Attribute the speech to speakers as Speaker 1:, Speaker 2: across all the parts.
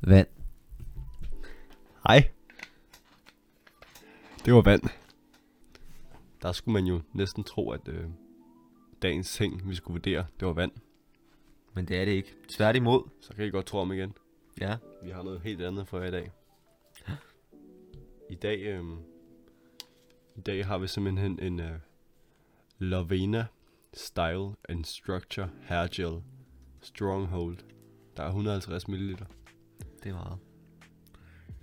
Speaker 1: Vand.
Speaker 2: Hej. Det var vand. Der skulle man jo næsten tro, at øh, dagens ting, vi skulle vurdere, det var vand.
Speaker 1: Men det er det ikke. Tværtimod.
Speaker 2: Så kan I godt tro om igen.
Speaker 1: Ja.
Speaker 2: Vi har noget helt andet for jer i dag. I dag, øh, i dag har vi simpelthen en øh, Lavena Style and Structure Hair Gel Stronghold. Der er 150 ml.
Speaker 1: Det er meget.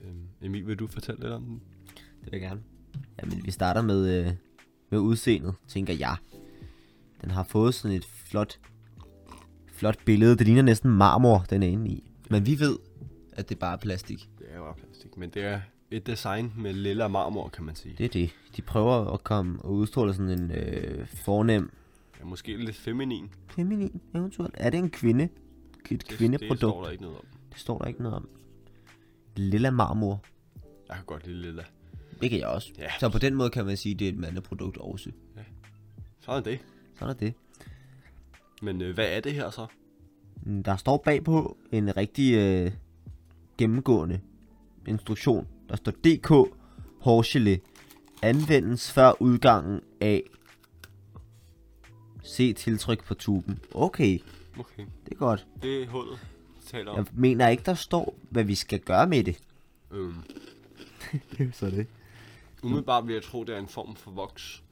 Speaker 2: Øh, Emil, vil du fortælle lidt om den?
Speaker 1: Det vil jeg gerne. Jamen, vi starter med, øh, med udseendet, tænker jeg. Den har fået sådan et flot, flot billede. Det ligner næsten marmor, den er inde i. Men vi ved, at det bare er plastik.
Speaker 2: Det er jo bare plastik, men det er et design med lilla marmor, kan man sige.
Speaker 1: Det er det. De prøver at komme og udstråle sådan en øh, fornem,
Speaker 2: Ja, måske lidt feminin.
Speaker 1: feminin eventuelt. Er det en kvinde? Et
Speaker 2: Det, det står
Speaker 1: kvindeprodukt?
Speaker 2: der ikke noget om.
Speaker 1: Det står der ikke noget om. Lilla marmor.
Speaker 2: Jeg kan godt lide lilla.
Speaker 1: Det kan jeg også.
Speaker 2: Ja.
Speaker 1: Så på den måde kan man sige, at det er et mandeprodukt også.
Speaker 2: Sådan er det.
Speaker 1: Sådan er det.
Speaker 2: Men øh, hvad er det her så?
Speaker 1: Mm, Der står bagpå en rigtig øh, gennemgående instruktion. Der står DK Horgelet. Anvendes før udgangen af Se tiltryk på tuben. Okay,
Speaker 2: Okay,
Speaker 1: det er godt.
Speaker 2: det er hullet, vi taler om.
Speaker 1: Jeg mener ikke, der står, hvad vi skal gøre med det.
Speaker 2: Øhm,
Speaker 1: Det er så det.
Speaker 2: umiddelbart vil jeg tro, det er en form for voks.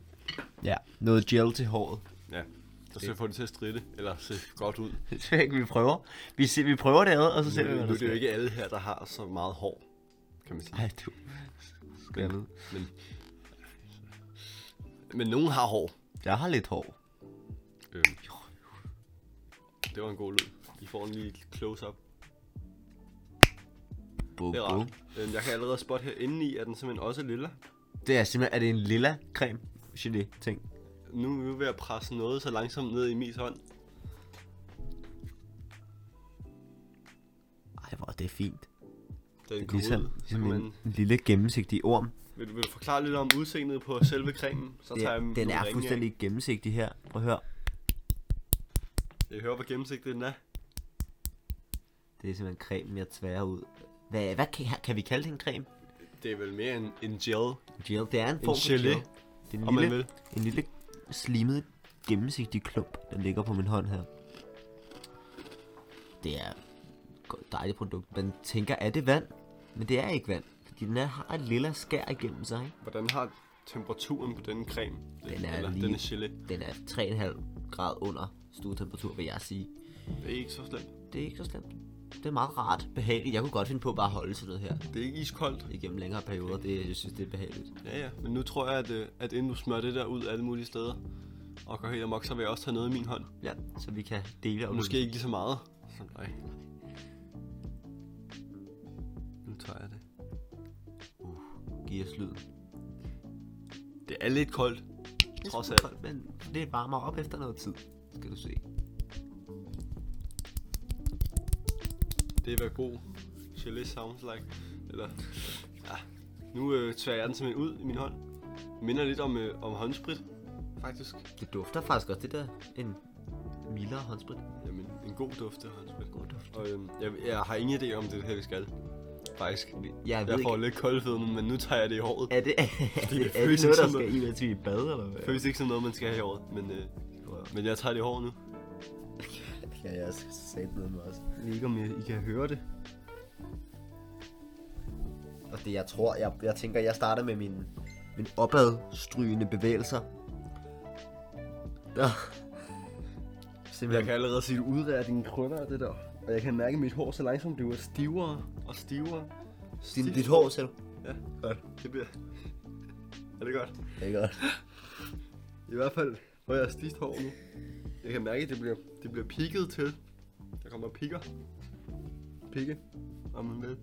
Speaker 1: Ja, noget gel til håret.
Speaker 2: Ja, der skal få det til at stride, eller se godt ud.
Speaker 1: Det tror jeg ikke, vi prøver. Vi, se, vi prøver det ad, og så ser vi,
Speaker 2: Nu,
Speaker 1: hvad der
Speaker 2: nu er det jo
Speaker 1: sker.
Speaker 2: ikke alle her, der har så meget hår, kan man sige.
Speaker 1: Ej, du. Skal jeg ned?
Speaker 2: Men, men nogen har hår.
Speaker 1: Jeg har lidt hår.
Speaker 2: Øhm. Det var en god lyd. I får en lille close-up.
Speaker 1: Bum,
Speaker 2: Det er rart. Øhm, jeg kan allerede spotte her indeni, at den simpelthen også er lilla.
Speaker 1: Det er simpelthen, er det en lilla creme gelé ting?
Speaker 2: Nu er vi ved at presse noget så langsomt ned i Mis hånd.
Speaker 1: Ej, hvor er det fint.
Speaker 2: Den kom
Speaker 1: Ligesom,
Speaker 2: ud. Så kan
Speaker 1: ligesom
Speaker 2: man,
Speaker 1: en, en lille gennemsigtig orm.
Speaker 2: vil, du, vil du forklare lidt om udseendet på selve cremen? Så tager jeg
Speaker 1: Den, den
Speaker 2: nogle
Speaker 1: er
Speaker 2: ringe
Speaker 1: fuldstændig gennemsigtig her. Prøv at høre.
Speaker 2: Af. Jeg hører, hvor gennemsigtig den er.
Speaker 1: Det er simpelthen cremen, jeg tværer ud. Hvad, hvad kan, kan vi kalde det en creme?
Speaker 2: Det er vel mere en, en gel.
Speaker 1: Gel, det er en form for
Speaker 2: gelé,
Speaker 1: gel. Det er
Speaker 2: om
Speaker 1: en
Speaker 2: man
Speaker 1: lille,
Speaker 2: vil.
Speaker 1: en lille slimet, gennemsigtig klump, der ligger på min hånd her. Det er et godt- dejligt produkt. Man tænker, er det vand? Men det er ikke vand. Fordi den er, har et lille skær igennem sig, ikke?
Speaker 2: Hvordan har temperaturen på denne creme?
Speaker 1: Den er
Speaker 2: Eller,
Speaker 1: lige-
Speaker 2: Den er gelé.
Speaker 1: Den er 3,5 grad under stuetemperatur, vil jeg sige.
Speaker 2: Det er ikke så slemt.
Speaker 1: Det er ikke så slemt. Det er meget rart, behageligt. Jeg kunne godt finde på bare at holde sådan noget her
Speaker 2: Det er ikke iskoldt.
Speaker 1: igennem længere perioder. Det, jeg synes, det er behageligt.
Speaker 2: Ja, ja. Men nu tror jeg, at, øh, at inden du smører det der ud alle mulige steder, og går helt amok, så vil jeg også tage noget i min hånd.
Speaker 1: Ja, så vi kan dele og
Speaker 2: Og måske ikke lige så meget som dig. Nu tager jeg det.
Speaker 1: give os lyden.
Speaker 2: Det er lidt koldt.
Speaker 1: Det
Speaker 2: Trods
Speaker 1: er
Speaker 2: alt.
Speaker 1: koldt, men det varmer op efter noget tid, skal du se.
Speaker 2: Det er hvad god gelé sounds like. Eller, ja. Nu øh, tværer jeg den simpelthen ud i min hånd. Minder lidt om, øh, om håndsprit, faktisk.
Speaker 1: Det dufter faktisk også. Det der en mildere håndsprit.
Speaker 2: Jamen, en god duft af håndsprit. God duft. Og øhm, jeg, jeg har ingen idé om det er det her, vi skal. Faktisk.
Speaker 1: Jeg ved
Speaker 2: Jeg får
Speaker 1: ikke,
Speaker 2: lidt kolde fødder nu, men nu tager jeg det i håret.
Speaker 1: er det, er det,
Speaker 2: det
Speaker 1: er det
Speaker 2: føles
Speaker 1: noget, der
Speaker 2: som
Speaker 1: skal i, mens vi er i bad, eller hvad?
Speaker 2: Det føles ikke som noget, man skal have i håret, men, øh, men jeg tager det i håret nu.
Speaker 1: Ja, jeg skal sætte noget med os.
Speaker 2: Jeg ved ikke, om I, I kan høre det.
Speaker 1: Og det, jeg tror, jeg, jeg tænker, jeg starter med min, min opadstrygende bevægelser. Der.
Speaker 2: Jeg
Speaker 1: Simpelthen.
Speaker 2: kan allerede se det udvære dine krøller af det der. Og jeg kan mærke, at mit hår så langsomt bliver stivere og stivere.
Speaker 1: Din, dit hår, ser du?
Speaker 2: Ja, godt. Det bliver... Er det godt?
Speaker 1: Det er godt.
Speaker 2: I hvert fald hvor jeg har stift hår nu. Jeg kan mærke, at det bliver, det bliver pigget til. Der kommer pikker. Pikke. Om man vil.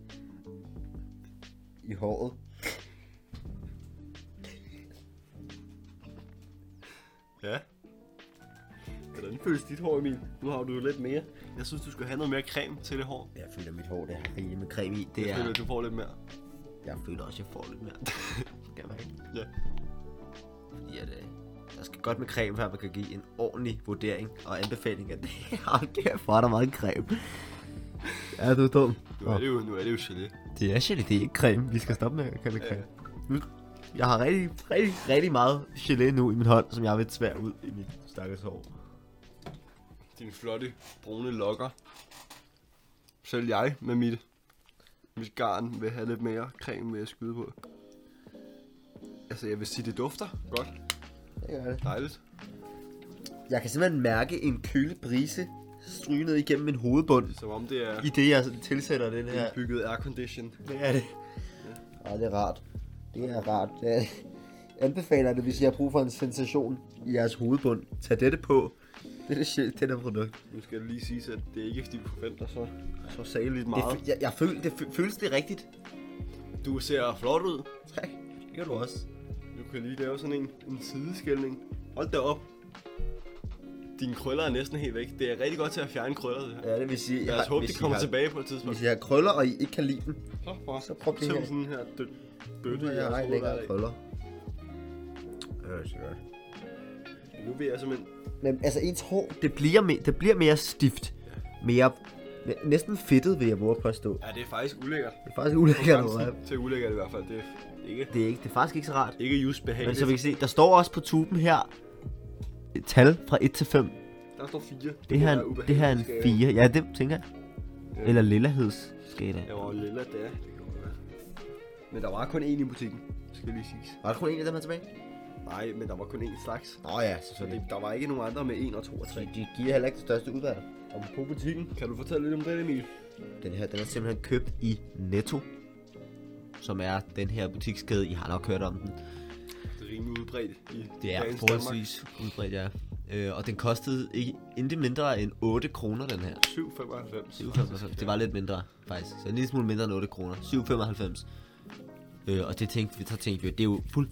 Speaker 1: I håret.
Speaker 2: Ja. Hvordan føles dit hår, Emil? Nu har du jo lidt mere. Jeg synes, du skal have noget mere creme til det hår.
Speaker 1: Jeg føler, mit hår det er rigeligt med creme i. Det
Speaker 2: Jeg føler,
Speaker 1: er,
Speaker 2: at du får lidt mere.
Speaker 1: jeg føler også, jeg får lidt mere. Skal man ikke?
Speaker 2: Ja.
Speaker 1: Fordi at, øh, der skal godt med creme, før man kan give en ordentlig vurdering og anbefaling af det. Hold kæft, hvor er der meget creme. Ja, du er dum.
Speaker 2: Nu er det jo, nu er det jo gelé.
Speaker 1: Det er gelé, det er ikke creme. Vi skal stoppe med at kalde det creme. Nu, jeg har rigtig, rigtig, rigtig meget gelé nu i min hånd, som jeg vil tvære ud i mit stakkels hår.
Speaker 2: Dine flotte, brune lokker. Selv jeg med mit, mit garn vil have lidt mere creme med at skyde på. Altså, jeg vil sige, det dufter godt.
Speaker 1: Det gør det.
Speaker 2: Dejligt.
Speaker 1: Jeg kan simpelthen mærke en kølig brise stryge ned igennem min hovedbund,
Speaker 2: Som Ligesom om det er
Speaker 1: i det jeg tilsætter den her.
Speaker 2: indbygget aircondition.
Speaker 1: Det er det. Ja, det er rart. Det er rart. Jeg anbefaler det, hvis I har brug for en sensation i jeres hovedbund. Tag dette på. Det er det shit, det der produkt.
Speaker 2: Nu skal det lige sige, at det er ikke, fordi vi forventer så,
Speaker 1: Så sageligt
Speaker 2: meget.
Speaker 1: Det, jeg, jeg føl, det fø- føles det rigtigt.
Speaker 2: Du ser flot ud.
Speaker 1: Tak. Det gør du også.
Speaker 2: Du kan lige lave sådan en, en sideskældning. Hold da op. Dine krøller er næsten helt væk. Det er rigtig godt til at fjerne krøller, det her.
Speaker 1: Ja, det vil sige,
Speaker 2: Lad os håbe, de kommer
Speaker 1: har,
Speaker 2: tilbage på et tidspunkt.
Speaker 1: Hvis I har krøller, og I ikke kan lide dem,
Speaker 2: Så, for,
Speaker 1: Så prop det
Speaker 2: så er
Speaker 1: her.
Speaker 2: vi sådan her dø- bøtte
Speaker 1: så
Speaker 2: i
Speaker 1: jeg har
Speaker 2: jeres
Speaker 1: jeg
Speaker 2: hoved hver
Speaker 1: lækkere
Speaker 2: dag.
Speaker 1: krøller. Ja, det er godt.
Speaker 2: Nu vil jeg simpelthen...
Speaker 1: Men altså, ens hår, det bliver, me- det bliver mere stift. Mere, næ- næsten fedtet, vil jeg våge at påstå.
Speaker 2: Ja, det er faktisk ulækkert.
Speaker 1: Det er faktisk
Speaker 2: På
Speaker 1: ulækkert,
Speaker 2: grænsen
Speaker 1: at røre.
Speaker 2: Til ulækkert i hvert fald. Det er f- ikke,
Speaker 1: det er, ikke, det er faktisk ikke så rart.
Speaker 2: ikke just
Speaker 1: Men
Speaker 2: behageligt.
Speaker 1: så vi kan se, der står også på tuben her et tal fra 1 til 5. Det,
Speaker 2: Der står fire.
Speaker 1: det, her, er en- det her er en 4. Ja, det tænker jeg.
Speaker 2: Ja.
Speaker 1: Eller lillahedsskala.
Speaker 2: Jeg var lilla, det er. Det kan godt være. Men der var kun én i butikken, skal lige siges.
Speaker 1: Var der kun en af dem her tilbage?
Speaker 2: Nej, men der var kun én slags.
Speaker 1: Nå ja,
Speaker 2: Så det, der var ikke nogen andre med 1 og 2 og 3.
Speaker 1: De giver heller ikke det største udvalg.
Speaker 2: Om på butikken, kan du fortælle lidt om det, Emil?
Speaker 1: Den her, den er simpelthen købt i Netto. Som er den her butikskæde, I har nok hørt om den.
Speaker 2: Det er rimelig udbredt i
Speaker 1: Det er
Speaker 2: dagens
Speaker 1: forholdsvis udbredt, ja. Øh, og den kostede ikke, intet mindre end 8 kroner, den her.
Speaker 2: Danmark. 7,95.
Speaker 1: 7,95. Det var lidt mindre, faktisk. Så en lille smule mindre end 8 kroner. 7,95. Øh, og det tænkte vi, så tænkte vi, det er jo fuld,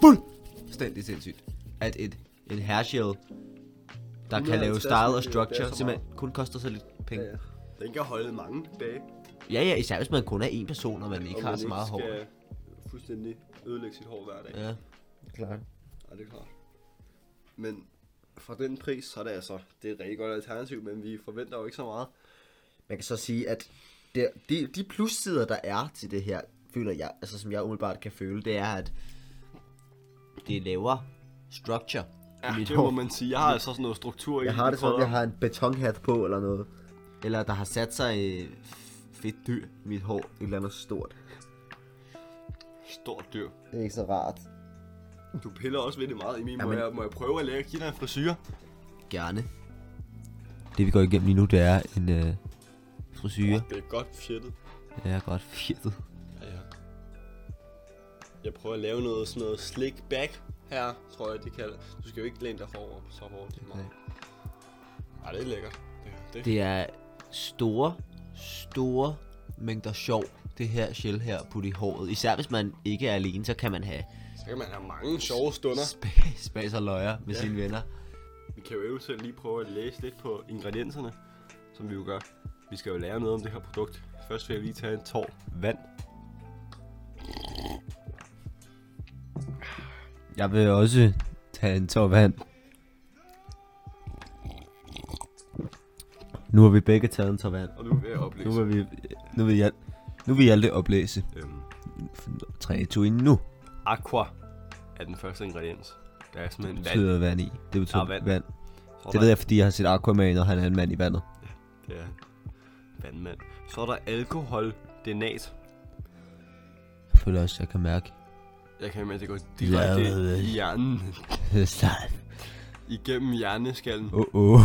Speaker 1: fuldstændig sindssygt, at et, en hairgel, der kan lave
Speaker 2: 150
Speaker 1: style og
Speaker 2: det er så
Speaker 1: structure,
Speaker 2: meget.
Speaker 1: simpelthen kun koster så lidt penge.
Speaker 2: Ja, ja. Den kan holde mange dage.
Speaker 1: Ja, ja, især hvis man kun er en person, og man ikke
Speaker 2: og
Speaker 1: har
Speaker 2: man
Speaker 1: så meget hår.
Speaker 2: skal fuldstændig ødelægge sit hår hver dag. Ja.
Speaker 1: Ja. Klart.
Speaker 2: ja, det er klart. Men for den pris, så er det altså, det er et rigtig godt alternativ, men vi forventer jo ikke så meget.
Speaker 1: Man kan så sige, at det, de, de plussider, der er til det her, føler jeg, altså som jeg umiddelbart kan føle, det er, at det laver structure i mit
Speaker 2: det
Speaker 1: hår.
Speaker 2: må man sige. Jeg har altså sådan noget struktur i
Speaker 1: Jeg har
Speaker 2: i
Speaker 1: det sådan,
Speaker 2: krødder.
Speaker 1: jeg har en betonhat på eller noget. Eller der har sat sig øh, f- fedt dyr i mit hår. Et eller andet stort.
Speaker 2: Stort dyr.
Speaker 1: Det er ikke så rart.
Speaker 2: Du piller også ved det meget, Emil. Må,
Speaker 1: Jamen-
Speaker 2: jeg, må jeg prøve at lægge give dig en frisyr?
Speaker 1: Gerne. Det vi går igennem lige nu, det er en øh, frisyre.
Speaker 2: Det er godt fjettet.
Speaker 1: Det er godt fjertet.
Speaker 2: Ja, ja. Jeg prøver at lave noget sådan noget slick back her, tror jeg, det kalder. Du skal jo ikke læne dig forover på så hårdt.
Speaker 1: Nej.
Speaker 2: Nej. Ej, det er lækkert. Det, er- det.
Speaker 3: Det er store, store mængder sjov, det her gel her på i håret. Især hvis man ikke er alene, så kan man have
Speaker 2: Så kan man have mange sjove stunder.
Speaker 3: spa- spas og løjer med ja. sine venner.
Speaker 2: Vi kan jo eventuelt lige prøve at læse lidt på ingredienserne, som vi jo gør. Vi skal jo lære noget om det her produkt. Først vil jeg lige tage en tår vand.
Speaker 1: Jeg vil også tage en tår vand. Nu har vi begge taget en tår vand.
Speaker 2: Og nu vil jeg oplæse.
Speaker 1: Nu vil vi... Nu vil jeg... Nu vil Hjalte oplæse.
Speaker 2: Øhm,
Speaker 1: 3, 2, 1, nu
Speaker 2: aqua er den første ingrediens. Der er simpelthen vand.
Speaker 1: betyder vand i. Det betyder
Speaker 2: Ah, vand.
Speaker 1: vand.
Speaker 2: Og
Speaker 1: Det ved jeg, fordi jeg har set Aquaman, og han er en mand i vandet.
Speaker 2: Det er vandmand. Så er der alkohol, denat.
Speaker 1: Jeg føler også, jeg kan mærke
Speaker 2: Jeg kan med, at det går direkte
Speaker 1: jeg ved
Speaker 2: i hjernen.
Speaker 1: Slime.
Speaker 2: Igennem hjerneskallen.
Speaker 1: Åh, åh.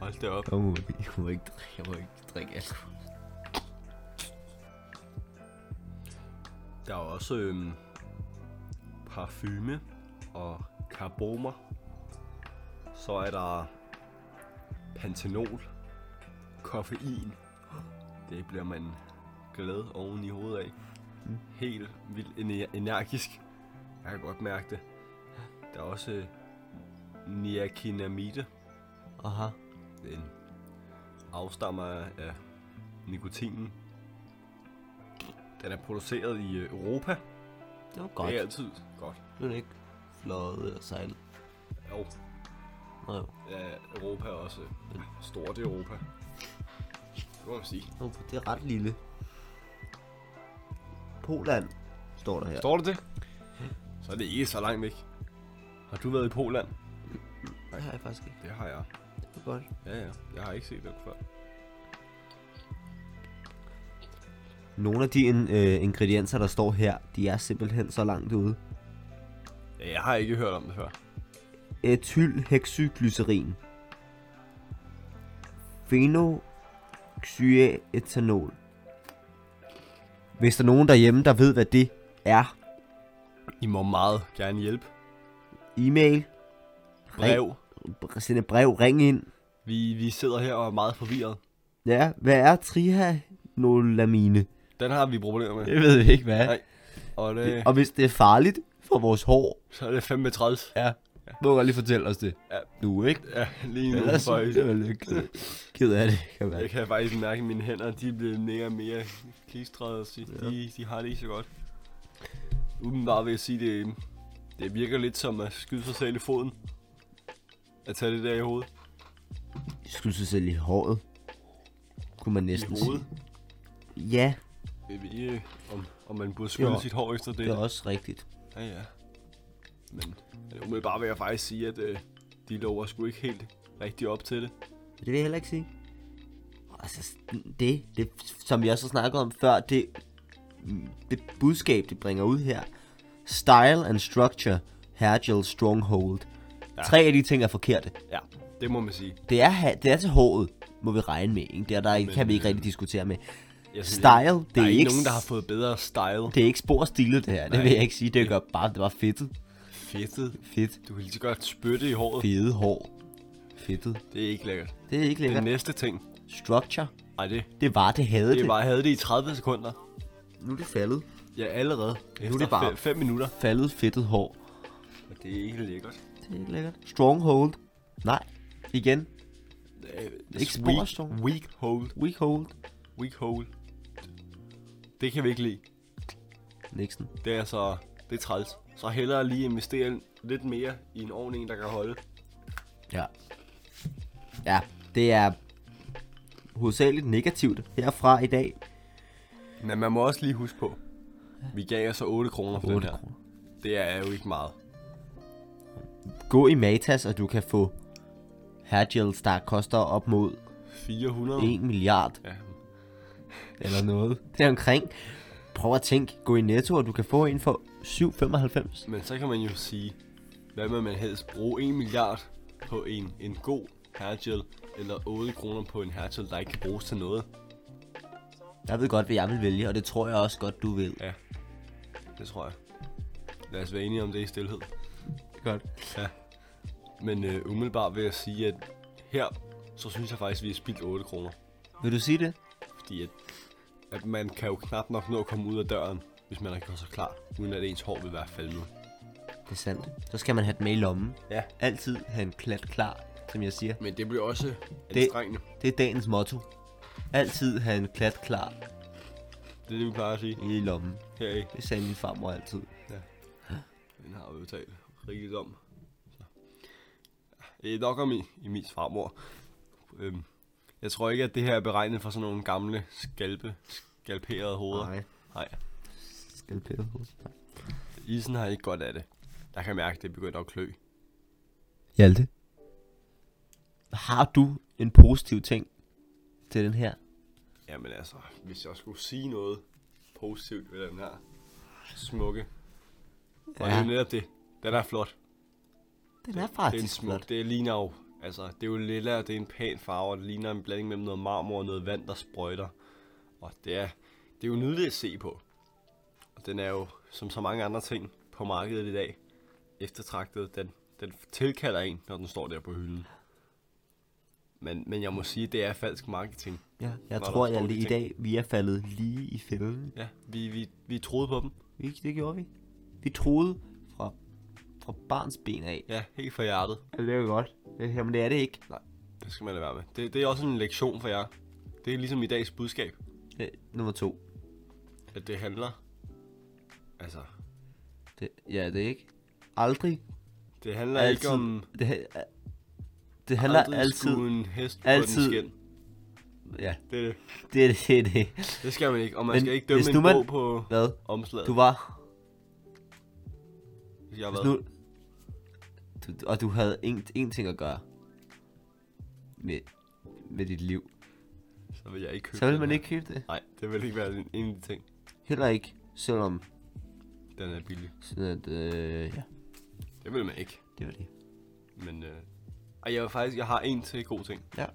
Speaker 2: Hold det op.
Speaker 1: Jeg må, jeg må ikke drikke, jeg må ikke drikke alkohol.
Speaker 2: Der er også øhm, parfume og karbomer. Så er der pantenol, koffein. Det bliver man glad oven i hovedet af. Helt vildt ener- energisk. Jeg kan godt mærke det. Der er også øh, niacinamide.
Speaker 3: Aha.
Speaker 2: Den afstammer af nikotinen. Den er produceret i øh, Europa.
Speaker 3: Det var
Speaker 2: Godt.
Speaker 3: godt.
Speaker 2: Det er altid godt.
Speaker 3: Nu er det ikke fløjet eller sejlet.
Speaker 2: Jo,
Speaker 3: Nå jo.
Speaker 2: ja, Europa er også øh, stort i Europa. Det må man sige.
Speaker 1: Nå, for det er ret lille. Poland står der her.
Speaker 2: Står det det? Så er det ikke så langt væk. Har du været i Polen?
Speaker 3: Det har jeg faktisk ikke.
Speaker 2: Det har jeg.
Speaker 3: Det er godt.
Speaker 2: Ja, ja. Jeg har ikke set det før.
Speaker 1: Nogle af de in, øh, ingredienser, der står her, de er simpelthen så langt ude.
Speaker 2: Ja, jeg har ikke hørt om det før.
Speaker 1: Ethylhexyglycerin. Phenoxyetanol. Hvis der er nogen derhjemme, der ved, hvad det er,
Speaker 2: I må meget gerne hjælpe.
Speaker 1: e-mail,
Speaker 2: Brev.
Speaker 1: br- send et brev, ring ind.
Speaker 2: Vi, vi sidder her og er meget forvirret.
Speaker 1: Ja, hvad er trihanolamine?
Speaker 2: Den har vi problemer med.
Speaker 1: Det ved vi ikke, hvad
Speaker 2: Nej. Og det,
Speaker 1: Og hvis det er farligt for vores hår,
Speaker 2: så er det fandme træls.
Speaker 1: ja, må du godt lige fortælle os det.
Speaker 2: Ja.
Speaker 1: Nu, ikke?
Speaker 2: Ja, lige nu
Speaker 1: Ellers er
Speaker 2: faktisk.
Speaker 1: det vel ikke ked af det, kan være.
Speaker 2: Jeg kan faktisk mærke, at mine hænder de er blevet mere og mere klistrede. og sige, De, de har det ikke så godt. Udenbart vil jeg sige, det, det virker lidt som at skyde sig selv i foden. At tage det der i hovedet.
Speaker 1: Skulle sig selv i håret. Kunne man
Speaker 2: I
Speaker 1: næsten
Speaker 2: hovedet.
Speaker 1: sige. Ja,
Speaker 2: Jeg ved ikke, om, om man burde skylle
Speaker 1: Jo.
Speaker 2: sit hår efter det.
Speaker 1: det er også rigtigt.
Speaker 2: Ja, ja. Men jeg må bare jeg faktisk sige, at øh, de lover sgu ikke helt rigtig op til det.
Speaker 1: Det vil jeg heller ikke sige. Altså, det, det som vi også har snakket om før, det, det budskab, det bringer ud her. Style and structure, Hergel Stronghold. Ja. Tre af de ting er forkerte.
Speaker 2: Ja, det må man sige.
Speaker 1: Det er, ha- det er til håret, må vi regne med. Ikke? Det er, der Men, kan vi ikke
Speaker 2: øh,
Speaker 1: rigtig diskutere med.
Speaker 2: Jeg
Speaker 1: Style,
Speaker 2: ikke-
Speaker 1: det
Speaker 2: der
Speaker 1: er
Speaker 2: er
Speaker 1: ikke
Speaker 2: ikke nogen, der
Speaker 1: s-
Speaker 2: har fået bedre style.
Speaker 1: Det er ikke spor stilet, det her. Det
Speaker 2: Nej.
Speaker 1: vil jeg ikke sige. Det gør bare, det var fedtet.
Speaker 2: Fedtet.
Speaker 1: Fedt.
Speaker 2: Du kan lige så godt spytte i håret.
Speaker 1: Fede hår. Fedtet.
Speaker 2: Det er ikke lækkert.
Speaker 1: Det er ikke
Speaker 2: Den
Speaker 1: lækkert.
Speaker 2: næste ting.
Speaker 1: Structure.
Speaker 2: Ej, det,
Speaker 1: Det var, det havde det.
Speaker 2: det var, jeg havde det i 30 sekunder.
Speaker 1: Nu er det faldet.
Speaker 2: Ja, allerede.
Speaker 1: Nu er det bare-
Speaker 2: 5 minutter.
Speaker 1: Faldet fedtet hår.
Speaker 2: Og det er ikke lækkert.
Speaker 1: Det er ikke lækkert. Stronghold. Nej. Igen.
Speaker 2: Øh, det er
Speaker 1: Ikke spor
Speaker 2: weak,
Speaker 1: strong.
Speaker 2: weak hold.
Speaker 1: Weak hold.
Speaker 2: Weak hold. Det kan vi ikke lide.
Speaker 1: Nixon.
Speaker 2: Det er altså, det er træls. Så hellere lige investere lidt mere i en ordentlig en, der kan holde.
Speaker 1: Ja. Ja, det er hovedsageligt negativt herfra i dag.
Speaker 2: Men man må også lige huske på, vi gav altså 8 kroner for 8 den
Speaker 1: 8
Speaker 2: her.
Speaker 1: kroner.
Speaker 2: Det er jo ikke meget.
Speaker 1: Gå i Matas, og du kan få hairgels, der koster op mod
Speaker 2: 400?
Speaker 1: 1 milliard
Speaker 2: Ja.
Speaker 1: eller noget. Det er omkring. Prøv at tænke, gå i Netto, og du kan få en for 7,95.
Speaker 2: Men så kan man jo sige, hvad vil man helst bruge 1 milliard på en, en god hairgel, eller 8 kroner på en hairgel, der ikke kan bruges til noget.
Speaker 1: Jeg ved godt, hvad jeg vil vælge, og det tror jeg også godt, du vil.
Speaker 2: Det tror jeg. Lad os være enige om det i stillhed.
Speaker 1: Godt.
Speaker 2: Ja. Men øh, umiddelbart vil jeg sige, at her, så synes jeg faktisk, at vi har spildt 8 kroner.
Speaker 1: Vil du sige det?
Speaker 2: Fordi at, at man kan jo knap nok nå at komme ud af døren, hvis man har gjort sig klar, uden at ens hår vil være faldet.
Speaker 1: Det er sandt. Så skal man have den med i lommen.
Speaker 2: Ja.
Speaker 1: Altid have en klat klar, som jeg siger.
Speaker 2: Men det bliver også anstrengende.
Speaker 1: Det er dagens motto. Altid have en klat klar
Speaker 2: Det, det er det, vi plejer at sige.
Speaker 1: i lommen.
Speaker 2: Her i.
Speaker 1: Det sagde min farmor altid.
Speaker 2: Den har vi jo talt rigeligt om. Så. Det er nok om i, i min farmor. Øhm, jeg tror ikke, at det her er beregnet for sådan nogle gamle skalpe, skalperede hoveder.
Speaker 1: Nej.
Speaker 2: Nej.
Speaker 1: Skal pille på.
Speaker 2: Isen har ikke godt af det. Jeg kan mærke, at det begynder at klø.
Speaker 1: Hjalte. Har du en positiv ting til den her?
Speaker 2: Jamen altså, hvis jeg skulle sige noget positivt ved den her smukke. Og det er jo netop det. Den er flot.
Speaker 1: den er
Speaker 2: Det er en
Speaker 1: faktisk
Speaker 2: smuk.
Speaker 1: flot.
Speaker 2: Det ligner jo, altså, det er jo lilla, og det er en pæn farve, og det ligner en blanding mellem noget marmor og noget vand, der sprøjter. Og det er, det er jo nydeligt at se på. Og den er jo, som så mange andre ting på markedet i dag, eftertragtet. Den, den tilkalder en, når den står der på hylden. Men, men jeg må sige, det er falsk marketing.
Speaker 1: Ja, jeg
Speaker 2: Var der
Speaker 1: tror, jeg
Speaker 2: dårlige
Speaker 1: lige i
Speaker 2: ting?
Speaker 1: dag, vi er faldet lige i fælden.
Speaker 2: Ja, vi, vi, vi troede på dem.
Speaker 1: Vi, det gjorde vi. Vi troede fra, fra barns ben af.
Speaker 2: Ja, helt fra hjertet.
Speaker 1: Ja, det er godt. Jamen, det er det ikke.
Speaker 2: Nej, det skal man lade være med. Det, det er også en lektion for jer. Det er ligesom i dags budskab,
Speaker 1: Øh, nummer to.
Speaker 2: at det handler... Altså,
Speaker 1: Det, ja, det er ikke. Aldrig.
Speaker 2: det handler altid.
Speaker 1: altid.
Speaker 2: ikke om...
Speaker 1: Det, ha- det handler
Speaker 2: aldrig
Speaker 1: altid.
Speaker 2: skulle en hest på
Speaker 1: altid.
Speaker 2: den skin.
Speaker 1: Ja,
Speaker 2: Det, er det.
Speaker 1: det er det. det, er det.
Speaker 2: det skal man ikke. Og man
Speaker 1: Men
Speaker 2: Men skal ikke dømme
Speaker 1: hvis nu
Speaker 2: en
Speaker 1: man-
Speaker 2: bog på
Speaker 1: Hvad?
Speaker 2: omslaget.
Speaker 1: Du
Speaker 2: Du...
Speaker 1: var...
Speaker 2: Jeg
Speaker 1: Hvis
Speaker 2: var...
Speaker 1: nu, du, og du havde en, en ting at gøre med, med dit liv.
Speaker 2: Så vil jeg ikke købe
Speaker 1: Så ville
Speaker 2: den
Speaker 1: man
Speaker 2: her.
Speaker 1: ikke købe det.
Speaker 2: Nej, det vil ikke være en en af de ting.
Speaker 1: Heller ikke, selvom
Speaker 2: Den er billig.
Speaker 1: sådan at, øh, ja,
Speaker 2: Det vil man ikke.
Speaker 1: det var det.
Speaker 2: Men øh... Og jeg vil faktisk, jeg har en til god ting.
Speaker 1: Ja.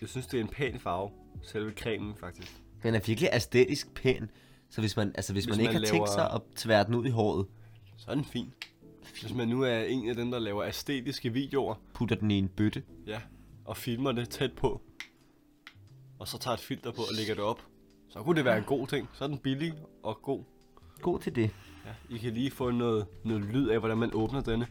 Speaker 2: Jeg synes, det er en pæn farve. Selve cremen, faktisk.
Speaker 1: Den er virkelig æstetisk pæn. Så hvis man, altså hvis, hvis
Speaker 2: Hvis
Speaker 1: man ikke
Speaker 2: man
Speaker 1: har tænkt sig
Speaker 2: laver-
Speaker 1: at tvære den ud i håret,
Speaker 2: Så er den fin. Hvis man nu er en af dem, der laver æstetiske videoer,
Speaker 1: putter den i en bøtte,
Speaker 2: ja, og filmer det tæt på, og så tager et filter på og lægger det op, så kunne det være en god ting. Så er den billig og god.
Speaker 1: god til det.
Speaker 2: Ja, I kan lige få noget, noget lyd af, hvordan man åbner denne.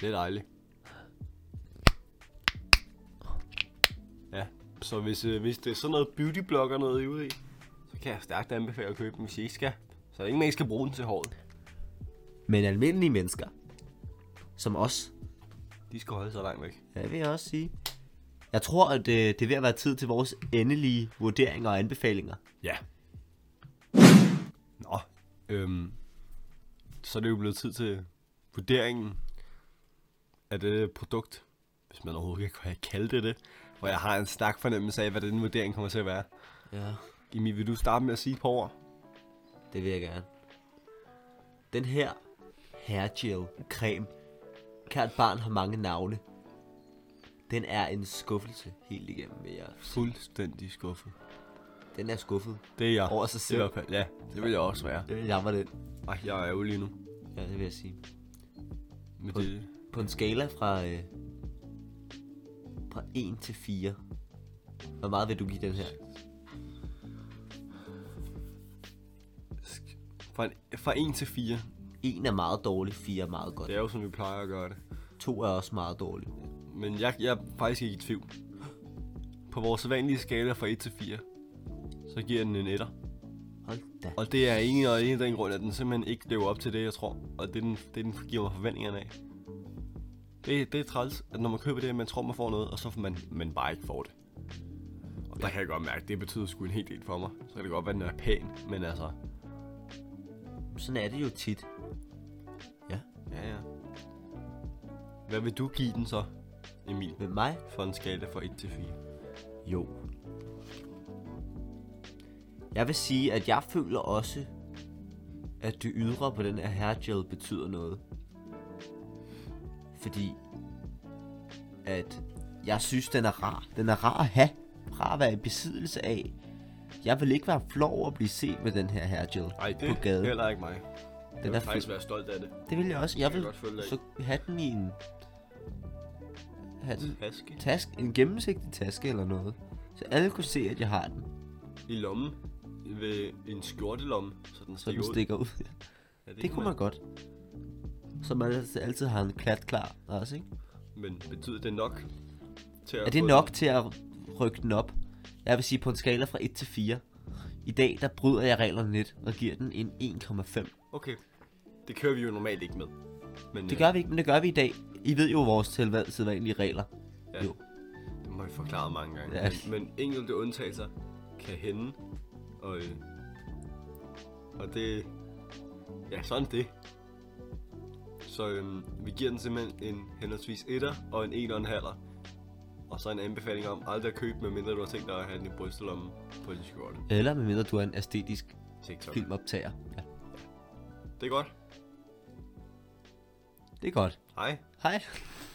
Speaker 2: Det er dejligt. Ja, så hvis, øh, hvis det er sådan noget beautyblogger noget I er ude i, så kan jeg stærkt anbefale at købe den, hvis I ikke skal. Så ingen man skal bruge den til håret.
Speaker 1: Men almindelige mennesker, som os,
Speaker 2: De skal holde sig langt væk.
Speaker 1: ja, det vil jeg også sige. Jeg tror, at øh, det er ved at være tid til vores endelige vurderinger og anbefalinger.
Speaker 2: Ja. Nå, øhm, så er det jo blevet tid til vurderingen af det produkt, hvis man overhovedet kan kalde det det, hvor jeg har en stærk fornemmelse af, hvad den vurdering kommer til at være.
Speaker 1: Ja,
Speaker 2: Emil, vil du starte med at sige på ord?
Speaker 1: det vil jeg gerne. Den her hairgel creme, kært barn har mange navne. Den er en skuffelse helt igennem, vil jeg.
Speaker 2: Fuldstændig skuffet.
Speaker 1: Den er skuffet.
Speaker 2: Det er jeg.
Speaker 1: Over sig selv.
Speaker 2: I hvert fald, ja, det vil jeg også være.
Speaker 1: Jeg var den.
Speaker 2: Ej, jeg er jo lige nu.
Speaker 1: Ja, det vil jeg sige.
Speaker 2: Med det.
Speaker 1: På en skala fra, øh, fra 1 til 4. Hvor meget vil du give den her?
Speaker 2: Fra, en, fra 1 til 4.
Speaker 1: 1 er meget dårlig, 4 er meget godt.
Speaker 2: Det er jo, som vi plejer at gøre det.
Speaker 1: 2 er også meget dårlig.
Speaker 2: Men jeg, jeg er faktisk ikke i tvivl. På vores vanlige skala fra 1 til 4, så giver den en etter.
Speaker 1: Hold da.
Speaker 2: Og det er ingen og ingen af den grund, at den simpelthen ikke lever op til det, jeg tror. Og det, den, det, den giver mig forventningerne af. Det, det er træls, at når man køber det, man tror, man får noget, og så får man, man bare ikke får det. Og der kan jeg godt mærke, at det betyder sgu en hel del for mig. Så kan det godt være, at den er pæn, men altså...
Speaker 1: Sådan er det jo tit. Ja,
Speaker 2: Ja, ja. Hvad vil du give den så, Emil?
Speaker 1: med mig?
Speaker 2: For en skala fra 1 til 4.
Speaker 1: Jo. Jeg vil sige, at jeg føler også, at det ydre på den her hairgel betyder noget. Fordi, at jeg synes, den er rar. Den er rar at have. Rar at være i besiddelse af. Jeg vil ikke være flov over at blive set med den her hairgel
Speaker 2: Nej, det
Speaker 1: på gaden.
Speaker 2: er heller ikke mig. Jeg
Speaker 1: Den
Speaker 2: vil
Speaker 1: er Mm.
Speaker 2: faktisk
Speaker 1: fed.
Speaker 2: være stolt af det.
Speaker 1: Det vil jeg også. Jeg
Speaker 2: jeg
Speaker 1: vil
Speaker 2: godt følge dig i.
Speaker 1: så have den i en... Have den
Speaker 2: Taske
Speaker 1: taske, en gennemsigtig taske eller noget. Så alle kunne se, at jeg har den.
Speaker 2: i lommen ved en skjortelomme, så den
Speaker 1: Så
Speaker 2: stikker
Speaker 1: den
Speaker 2: ud.
Speaker 1: stikker ud.
Speaker 2: Ja,
Speaker 1: Det kunne man godt. Så man altid, altid har en klat klar også, ikke?
Speaker 2: Men betyder det nok til at
Speaker 1: Er det
Speaker 2: få
Speaker 1: nok
Speaker 2: Den?
Speaker 1: til at rykke den op? Jeg vil sige på en skala fra 1 til 4. I dag, der bryder jeg reglerne lidt og giver den en 1,5.
Speaker 2: Okay. Det kører vi jo normalt ikke med. Men
Speaker 1: Det
Speaker 2: øh,
Speaker 1: gør vi ikke, men det gør vi i dag. I ved jo vores tilvalg- sædvanlige regler.
Speaker 2: Ja.
Speaker 1: Jo.
Speaker 2: det må vi forklare mange gange.
Speaker 1: Ja.
Speaker 2: Ja. Men, men enkelte undtagelser kan hænde. Og, øh, og det... Ja, sådan er det. Så øhm, vi giver den simpelthen en henholdsvis etter og en en og en halver. Og så en anbefaling om aldrig at købe, medmindre du har tænkt dig at have den i brystelommen på din skjorte.
Speaker 1: Eller medmindre du er en æstetisk
Speaker 2: TikTok.
Speaker 1: filmoptager. Ja.
Speaker 2: Det er godt.
Speaker 1: Det er godt.
Speaker 2: Hej.
Speaker 1: Hej.